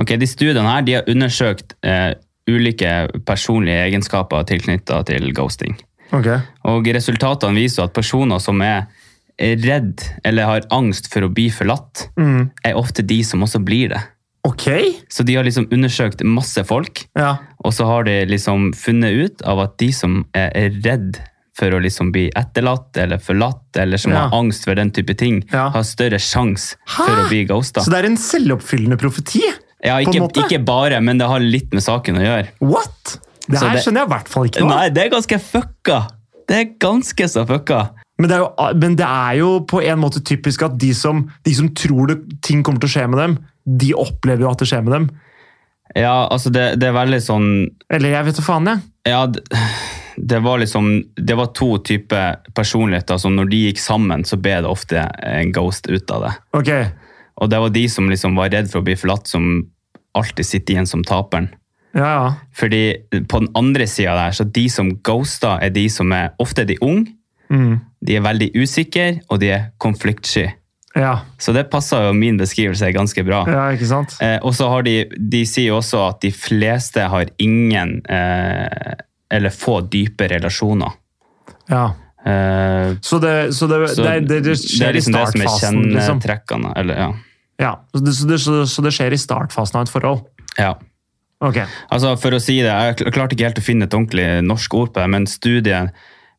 ok, de studiene her de har undersøkt eh, ulike personlige egenskaper tilknytta til ghosting. Ok. Og resultatene viser at personer som er redd eller har angst for å bli forlatt, Mm. er ofte de som også blir det. Ok? Så de har liksom undersøkt masse folk, Ja. og så har de liksom funnet ut av at de som er- er redd for å liksom bli etterlatt eller forlatt, eller som Ja. har angst for den type ting, Ja. har større sjanse for Hæ? å bli ghosta. Så det er en selvoppfyllende profeti? Ja, på en ikke, måte? ikke bare, men det har litt med saken å gjøre. What? Det Så her det- skjønner jeg i hvert fall ikke. nå. Nei, det er ganske fucka! Det er ganske så fucka. Men det, er jo, ah, men det er jo på en måte typisk at de som, de som tror det, ting kommer til å skje med dem, de opplever jo at det skjer med dem. Ja, altså, det, det er veldig sånn Eller jeg vet da faen, jeg. Ja, d- det var liksom Det var to typer personligheter som når de gikk sammen, så ble det ofte en ghost ut av det. Ok, Og det var de som liksom var redd for å bli forlatt, som alltid sitter igjen som taperen. ja, ja. Fordi på den andre sida der, så de som ghoster, er de som er Ofte er de unge, Mm. de er veldig usikre, og de er konfliktsky. Ja, Så det passer jo min beskrivelse ganske bra. ja, ikke sant? Eh, og så har de De sier jo også at de fleste har ingen eh, eller få dype relasjoner. Ja. Eh, Så det, så det, så det, det, det skjer i liksom det som er startfasen, liksom? kjennetrekkene. Eller, ja. Ja, så det, så, det, så, så det skjer i startfasen av et forhold? ja. Ok. Altså, for å si det, Jeg kl- klarte ikke helt å finne et ordentlig norsk ord på det, men studien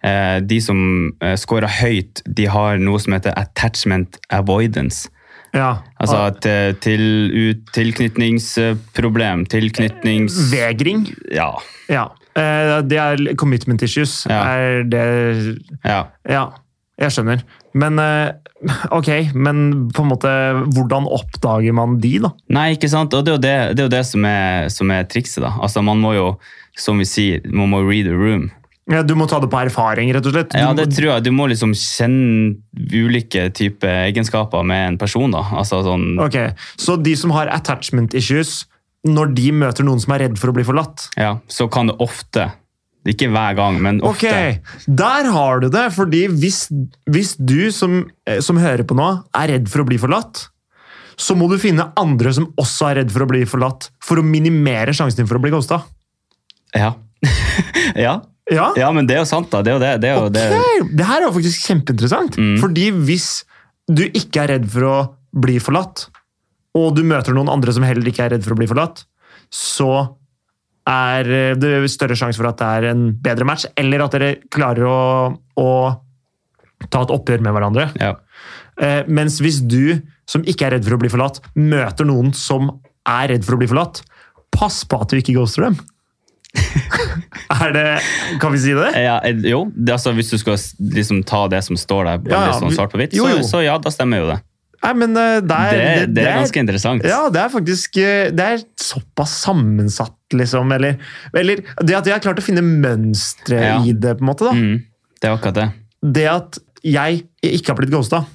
eh, De som eh, scorer høyt, de har noe som heter attachment avoidance. Ja. Ah, Altså et eh, til, ut, tilknytningsproblem. Tilknytnings... Vegring? Ja. Ja. Eh, Det er commitment issues. Ja. Er det ja. Ja, jeg skjønner. Men eh, ok, men på en måte Hvordan oppdager man de, da? Nei, ikke sant? Og det er jo det, det, er jo det som, er, som er trikset. da. Altså, Man må jo, som vi sier, man må read the room. Ja, du må ta det på erfaring, rett og slett. Du Ja, må- det tror jeg. Du må liksom kjenne ulike typer egenskaper med en person. da. Altså sånn... Ok, Så de som har attachment issues, når de møter noen som er redd for å bli forlatt Ja, så kan det ofte. Ikke hver gang, men Ok, ofte. der har du det! Fordi hvis, hvis du som, eh, som hører på nå, er redd for å bli forlatt, så må du finne andre som også er redd for å bli forlatt, for å minimere sjansen din for å bli ghosta. Ja. (laughs) ja. Ja? Ja, men det er jo sant, da. Det er jo det. det, er Mm. jo, det. Ok, Det her er jo faktisk kjempeinteressant. Fordi hvis du ikke er redd for å bli forlatt, og du møter noen andre som heller ikke er redd for å bli forlatt, så er eh, det større sjanse for at det er en bedre match, eller at dere klarer å, å ta et oppgjør med hverandre. Ja. Eh, mens hvis du, som ikke er redd for å bli forlatt, møter noen som er redd for å bli forlatt, pass på at du ikke (laughs) ghoster dem. er det Kan vi si det? Ja, eh, jo, det, altså, hvis du skal s- liksom, ta det som står der, Ja, ja, ja, sånn vi- svart på hvitt, jo, jo. Så, så ja, da stemmer jo det. Nei, men eh, det Det, er, det, det- det er ganske interessant. Ja, det er faktisk eh, Det er såpass sammensatt, liksom. Eller, eller det at jeg har klart å finne mønstre Ja. i det, på en måte. da. Mm, det er akkurat det. Det at jeg ikke har blitt ghosta.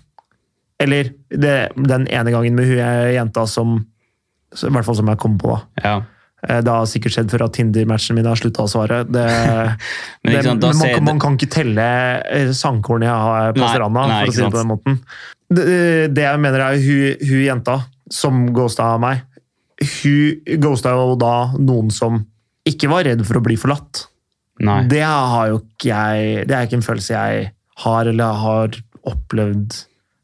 Eller det, den ene gangen med hun jeg- jenta som så- I hvert fall som jeg kom på, da. Ja. Eh, Det har sikkert skjedd før at Tinder-matchene mine har slutta å svare. Det, (laughs) Men, ikke det, sant, da men man, ser kan, man kan ikke telle eh, sangkorn jeg har på Nei, stranda, nei, for ikke å si det sant. på den måten. Det, det jeg mener er hun, hun jenta som ghosta meg, hun ghosta jo da noen som ikke var redd for å bli forlatt. Nei. Det har jo ikke jeg Det er ikke en følelse jeg har eller har opplevd,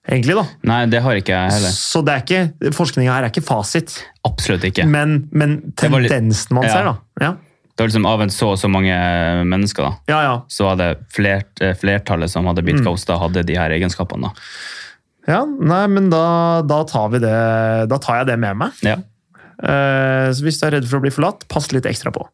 egentlig, da. nei, det har ikke jeg heller. Så det er ikke, forskninga her er ikke fasit, Absolutt ikke. men, men Det var litt- tendensen man Ja. ser, da. Ja. Det var liksom Av en så og så mange eh, mennesker, da. Ja, ja. så var det flert, eh, flertallet som hadde Mm. blitt ghosta, hadde de her egenskapene. da. Ja, nei, men da, da tar vi det Da tar jeg det med meg. Ja. Eh, så hvis du er redd for å bli forlatt, pass litt ekstra på.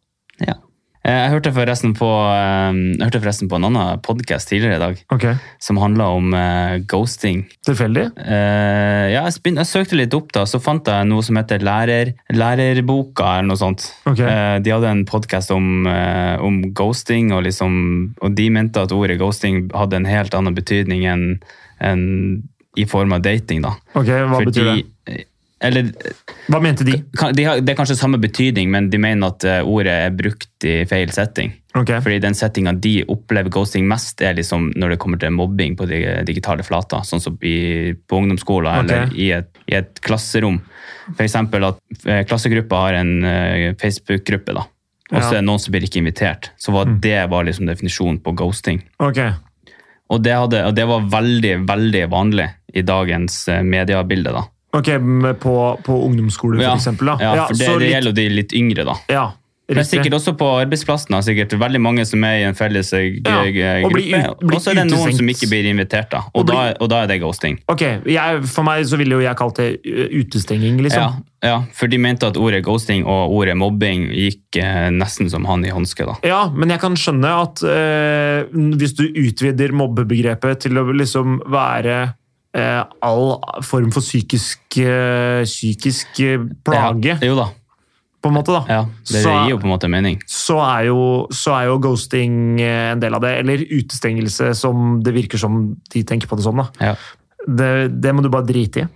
ja. Eh, Jeg hørte forresten på, eh, jeg hørte forresten på en annen podkast tidligere i dag Ok. som handla om eh, ghosting. Tilfeldig? Eh, ja, jeg, spin- jeg søkte litt opp, da, så fant jeg noe som heter lærer, Lærerboka, eller noe sånt. Ok. Eh, de hadde en podkast om, eh, om ghosting, og, liksom, og de mente at ordet ghosting hadde en helt annen betydning enn enn i form av dating. da. Ok, Hva betyr det? det? Eller Hva mente de? kan- de har, det er kanskje samme betydning, men de mener at eh, ordet er brukt i feil setting. Ok, Fordi den settinga de opplever ghosting mest, er liksom når det kommer til mobbing på de digitale flater. Sånn som i, på ungdomsskolen eller Ok. i et, i et klasserom. F.eks. at eh, klassegruppa har en eh, Facebook-gruppe, da. Og så Ja. Mm. er det noen som blir ikke invitert. Så var, det var liksom definisjonen på ghosting. ok. Og det, hadde, og det var veldig, veldig vanlig i dagens eh, mediebilde, da. Ok, med På, på ungdomsskole, for eksempel? Da. Ja, for det, så det litt- gjelder jo de litt yngre, da. ja, Men riktig. sikkert også på arbeidsplassen. da. Sikkert veldig mange som er i en felles eh, g- Ja, gruppe. og blir ut- blir Og så er det noen utestengt. som ikke blir invitert, da. Og, Og da, blir- og da er det ghosting. Ok, jeg, For meg så ville jo jeg kalt det ø, utestenging, Ja, liksom. ja, for de mente at ordet ghosting og ordet mobbing gikk eh, nesten som han i hanske, da. Ja, men jeg kan skjønne at ø, hvis du utvider mobbebegrepet til å liksom være ø, all form for psykisk, ø, psykisk ø, plage, Ja, jo da. på en måte, da. Ja, det Så- gir jo på en måte mening. Så, er jo, så er jo ghosting eh, en del av det. Eller utestengelse, som det virker som de tenker på det sånn. da. Ja. Det, det må du bare drite i.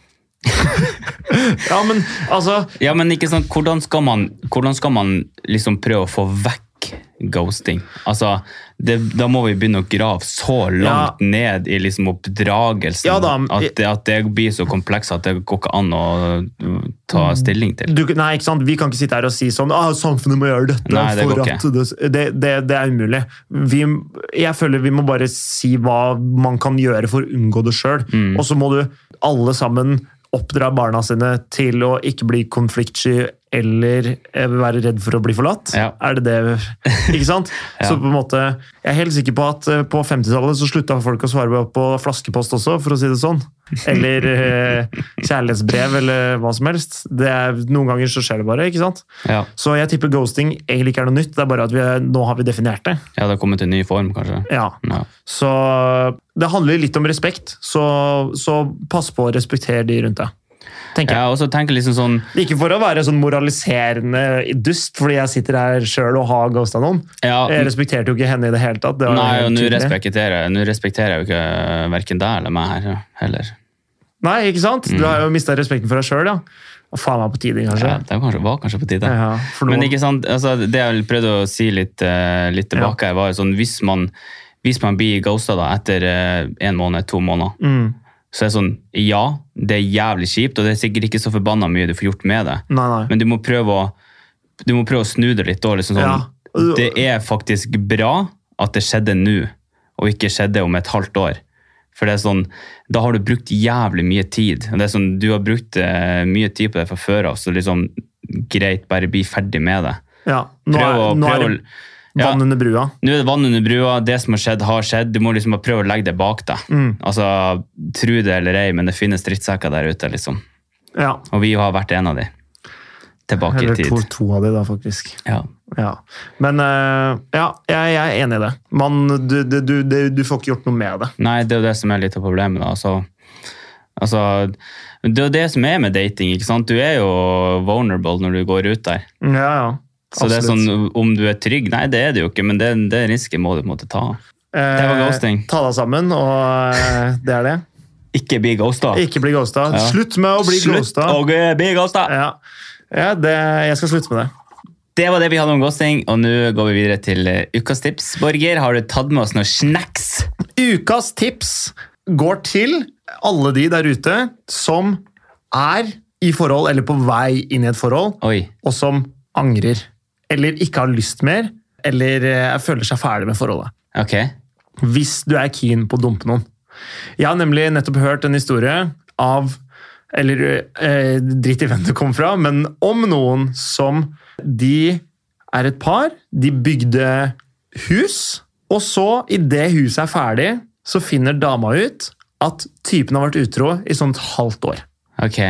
(laughs) ja, men altså ja, men ikke sant, hvordan skal man, hvordan skal man liksom prøve å få vekk ghosting? Altså, det, da må vi begynne å grave så langt ned i liksom oppdragelsen Ja da, at, det, at det blir så kompleks at det går ikke an å uh, ta Mm. stilling til. du, nei, ikke sant? Vi kan ikke sitte her og si sånn ah, samfunnet må gjøre dette. Nei, det går for ikke. at det, det, det, det er umulig. Vi, jeg føler vi må bare si hva man kan gjøre for å unngå det sjøl. Mm. Og så må du alle sammen oppdra barna sine til å ikke bli konfliktsky eller eh, være redd for å bli forlatt. Ja. Er det det Ikke sant? (laughs) Ja. Så på en måte Jeg er helt sikker på at eh, på 50-tallet så slutta folk å svare på flaskepost også, for å si det sånn. Eller eh, kjærlighetsbrev, eller hva som helst. Det er, noen ganger så skjer det bare, ikke sant? Ja, Så jeg tipper ghosting egentlig ikke er noe nytt, det er bare at vi er, nå har vi definert det. ja det har kommet en ny form, kanskje. Ja. Ja. Så det handler litt om respekt, så, så pass på å respektere de rundt deg. Tenker jeg. Jeg også tenker liksom sånn Ikke for å være sånn moraliserende dust, fordi jeg sitter her sjøl og har ghosta noen. ja, Jeg respekterte jo ikke henne i det hele tatt. Det var jo Nei, helt og nå tydelig. respekterer, jeg- nå respekterer jeg jo ikke verken deg eller meg her heller. Nei, ikke sant? Du har jo mista respekten for deg sjøl, ja. Og faen meg på tide, Mm. kanskje. Ja, det var kanskje, var kanskje på tide. Ja, for nå- Men ikke sant, altså, det jeg prøvde å si litt, eh, litt tilbake her, var jo sånn, hvis man, hvis man blir ghosta da, etter eh, en måned, to måneder, Mm. så er det sånn, ja, Det er jævlig kjipt, og det er sikkert ikke så forbanna mye du får gjort med det. Nei, nei. Men du må prøve å, du må prøve å snu det litt. Da, liksom sånn, Ja. Det er faktisk bra at det skjedde nå, og ikke skjedde om et halvt år. For det er sånn, Da har du brukt jævlig mye tid. og det er sånn, Du har brukt eh, mye tid på det fra før av, så liksom, greit, bare bli ferdig med det. Ja, nå er, Prøv å- nå er prøv det å- ja. vann under brua. Nå er det vann under brua, det som har skjedd, har skjedd. Du må liksom bare prøve å legge det bak deg. Mm. Altså, Tro det eller ei, men det finnes drittsekker der ute, liksom. Ja. Og vi har vært en av de. Tilbake Eller i tid. to, to av de, da, faktisk. Ja. Ja. Men eh, ja, jeg, jeg er enig i det. Man, du, du, du, du- du får ikke gjort noe med det. Nei, det er jo det som er litt av problemet, da. Altså, altså, det er jo det som er med dating, ikke sant. Du er jo vulnerable når du går ut der. Ja, ja. Så det er Absolutt. sånn, om du er trygg Nei, det er det jo ikke, men det, det risken må du på en måte ta. det var Eh, ghosting. Ta deg sammen, og eh, det er det. Ikke bli ghosta. Ikke bli ghosta. Ja. Slutt med å bli Slutt ghosta. å bli ghosta! Ja. Ja, det, jeg skal slutte med det. Det var det vi hadde om ghosting, og nå går vi videre til eh, ukas tips. Borger, har du tatt med oss noen snacks? Ukas tips går til alle de der ute som er i forhold, eller på vei inn i et forhold, Oi. og som angrer. Eller ikke har lyst mer, eller eh, føler seg ferdig med forholdet. Ok. hvis du er keen på å dumpe noen. Jeg har nemlig nettopp hørt en historie av Eller eh, dritt i hvem det kom fra, men om noen som De er et par, de bygde hus, og så, idet huset er ferdig, så finner dama ut at typen har vært utro i sånn et halvt år. ok.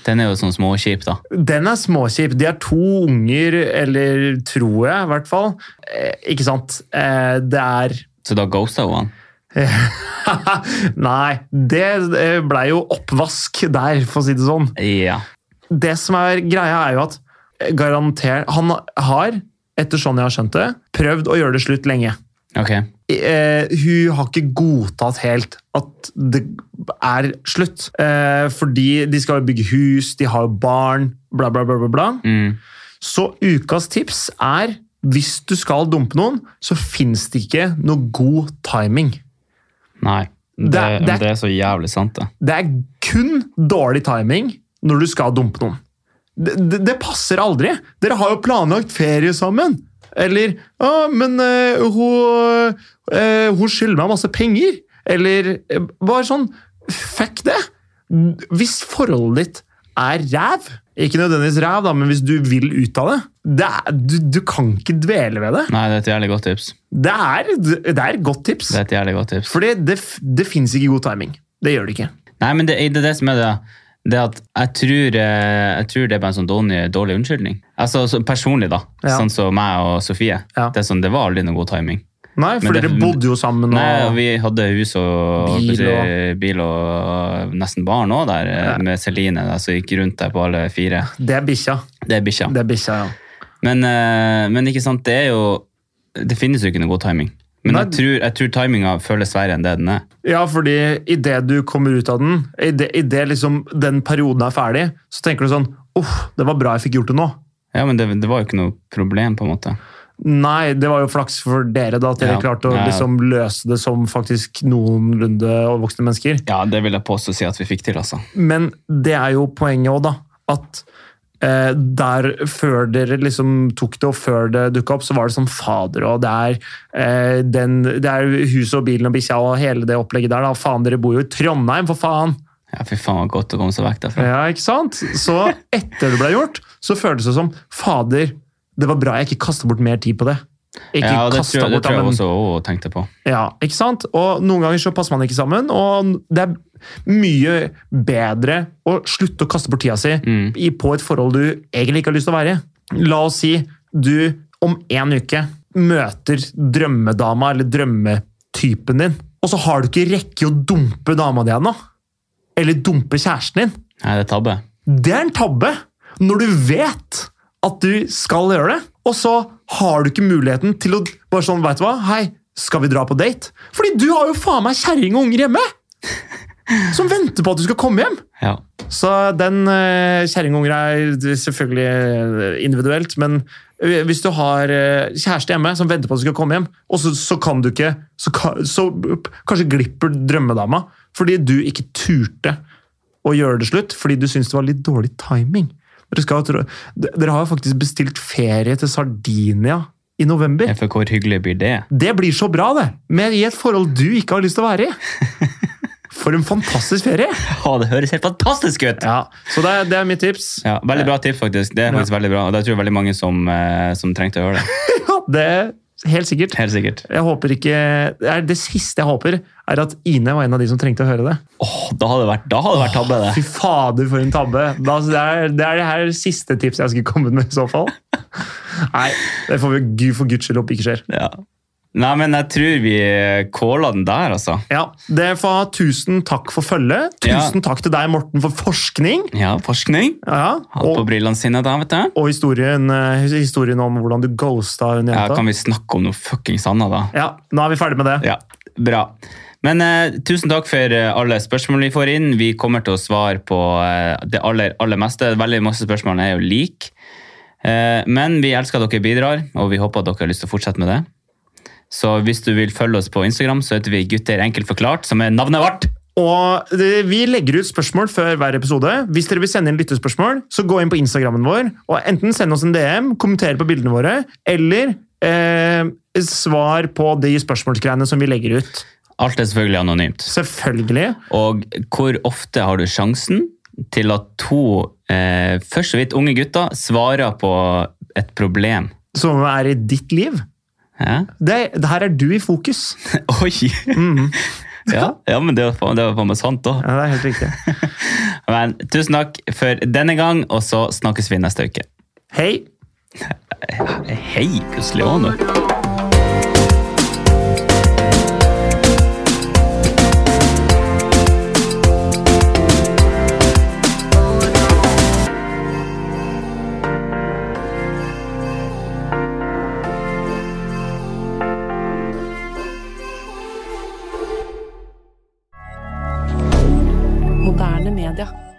Den er jo sånn småkjip, da. Den er småkjip. De har to unger, eller tror jeg, i hvert fall. Eh, ikke sant? Eh, det er Så da ghosta hun han. (laughs) Nei, det eh, ble jo oppvask der, for å si det sånn. Ja. Det som er greia, er jo at eh, garanter, han har, etter sånn jeg har skjønt det, prøvd å gjøre det slutt lenge. Ok. Eh, hun har ikke godtatt helt at det er slutt. Eh, fordi de skal jo bygge hus, de har jo barn, bla, bla, bla. bla, bla. Mm. Så ukas tips er hvis du skal dumpe noen, så fins det ikke noe god timing. Nei. Det, det, Det- det- er så jævlig sant, det. Det er kun dårlig timing når du skal dumpe noen. Det, det, det passer aldri. Dere har jo planlagt ferie sammen. Eller ja, men eh, hun, eh, hun skylder meg masse penger. Eller eh, bare sånn Fuck det! Hvis forholdet ditt er ræv Ikke nødvendigvis ræv, da, men hvis du vil ut av det, det er, du, du kan ikke dvele ved det. Nei, det er et jævlig godt tips. Det er, det er et godt tips. Det er et jævlig godt tips. Fordi det, f- det fins ikke god timing. Det gjør det ikke. Nei, men det, det er det som er det. Det at jeg tror, eh, jeg tror det er bare en sånn dårlig, dårlig unnskyldning. Altså så personlig, da. Ja. Sånn som meg og Sofie. Ja. Det, er sånn, det var aldri noe god timing. Nei, for det- dere men- bodde jo sammen. Og, Nei, og vi hadde hus og Bil bil og, og- bil og nesten barn òg der, eh, Ja. med Celine der, som gikk rundt der på alle fire. Det er bikkja. Det er bikkja. Det er bikkja, ja. Men, eh, men ikke sant, det er jo Det finnes jo ikke noe god timing. Men Nei. jeg tror, jeg tror timinga føles verre enn det den er. Ja, fordi idet du kommer ut av den, idet liksom den perioden er ferdig, så tenker du sånn Uff, det var bra jeg fikk gjort det nå. Ja, men det, det var jo ikke noe problem, på en måte. Nei, det var jo flaks for dere da, at dere Ja, klarte å ja. liksom løse det som faktisk noenlunde voksne mennesker. Ja, det vil jeg påstå si at vi fikk til, altså. Men det er jo poenget òg, da. At eh, der før dere liksom tok det, og før det dukka opp, så var det sånn fader og det er, eh, den, det er huset og bilen og bikkja og hele det opplegget der. da, Faen, dere bor jo i Trondheim, for faen! Ja, fy faen, var godt å komme seg vekk derfra. Ja, ikke sant? Så etter det ble gjort, så føltes det som fader, det var bra jeg ikke kasta bort mer tid på det. Ikke Ja, det kastet tror, jeg- det bort, da, tror jeg men- også hun tenkte på. ja, ikke sant? Og noen ganger så passer man ikke sammen, og det er mye bedre å slutte å kaste bort tida si Mm. i- på et forhold du egentlig ikke har lyst til å være i. La oss si du om en uke møter drømmedama eller drømmetypen din, og så har du ikke rekke å dumpe dama di ennå. Eller dumpe kjæresten din. Nei, det er tabbe. Det er en tabbe når du vet at du skal gjøre det, og så har du ikke muligheten til å bare sånn, vet du hva, hei, skal vi dra på date? Fordi du har jo faen meg kjerring og unger hjemme! Som venter på at du skal komme hjem! Ja. Så den eh, kjerring og unger er selvfølgelig eh, individuelt, men hvis du har eh, kjæreste hjemme som venter på at du skal komme hjem, og så, så kan du ikke Så, ka- så kanskje glipper drømmedama fordi du ikke turte å gjøre det slutt fordi du syns det var litt dårlig timing. Dere, skal, tro- D- dere har jo faktisk bestilt ferie til Sardinia i november. For hvor hyggelig blir det? (laughs) Det blir så bra, det! Men i et forhold du ikke har lyst til å være i. For en fantastisk ferie! Å, det høres helt fantastisk ut! Ja, Så det er, det er mitt tips. Ja, Veldig bra tipp, faktisk. Det er faktisk veldig bra, og det tror jeg veldig mange som, eh, som trengte å høre det. (laughs) Ja, det er Helt sikkert. Helt sikkert. Jeg håper ikke, det, er det siste jeg håper, er at Ine var en av de som trengte å høre det. Åh, da hadde det vært, da hadde det vært tabbe, det. Fy fader, for en tabbe! Da, altså, det, er, det er det her siste tipset jeg skulle kommet med. i så fall. Nei, det får vi gud for guds skyld håpe ikke skjer. Ja. Nei, men jeg tror vi caller den der, altså. Ja, det får ha Tusen takk for følget. Ja. Tusen takk til deg, Morten, for forskning. Ja, forskning. Ja, Hatt på og brillene sine da, vet du. og historien, eh, historien om hvordan du ghosta hun Ja, jenta. kan vi snakke om noe fuckings annet, da? Ja, Nå er vi ferdig med det. Ja, bra. Men eh, tusen takk for eh, alle spørsmål vi får inn. Vi kommer til å svare på eh, det aller, aller meste. Veldig masse spørsmål er jo like. Eh, men vi elsker at dere bidrar, og vi håper at dere har lyst til å fortsette med det. Så hvis du vil følge oss på Instagram, så heter vi Gutter enkelt forklart, som er navnet vårt. Og det- Vi legger ut spørsmål før hver episode. Hvis dere vil sende inn lyttespørsmål, så gå inn på Instagrammen vår og enten send oss en DM, kommenter på bildene våre, eller eh, svar på de spørsmålsgreiene som vi legger ut. Alt er selvfølgelig anonymt. Selvfølgelig. Og hvor ofte har du sjansen til at to eh, først så vidt unge gutter svarer på et problem? Som er i ditt liv. Hæ? (laughs) Det, det her er du i fokus. Mm. Oi! ja, ja, men det var faen- det var faen meg sant, da. Ja, det er helt riktig. Men tusen takk for denne gang, og så snakkes vi neste uke. Hei! Hei, plutselig òg nå. Moderne media.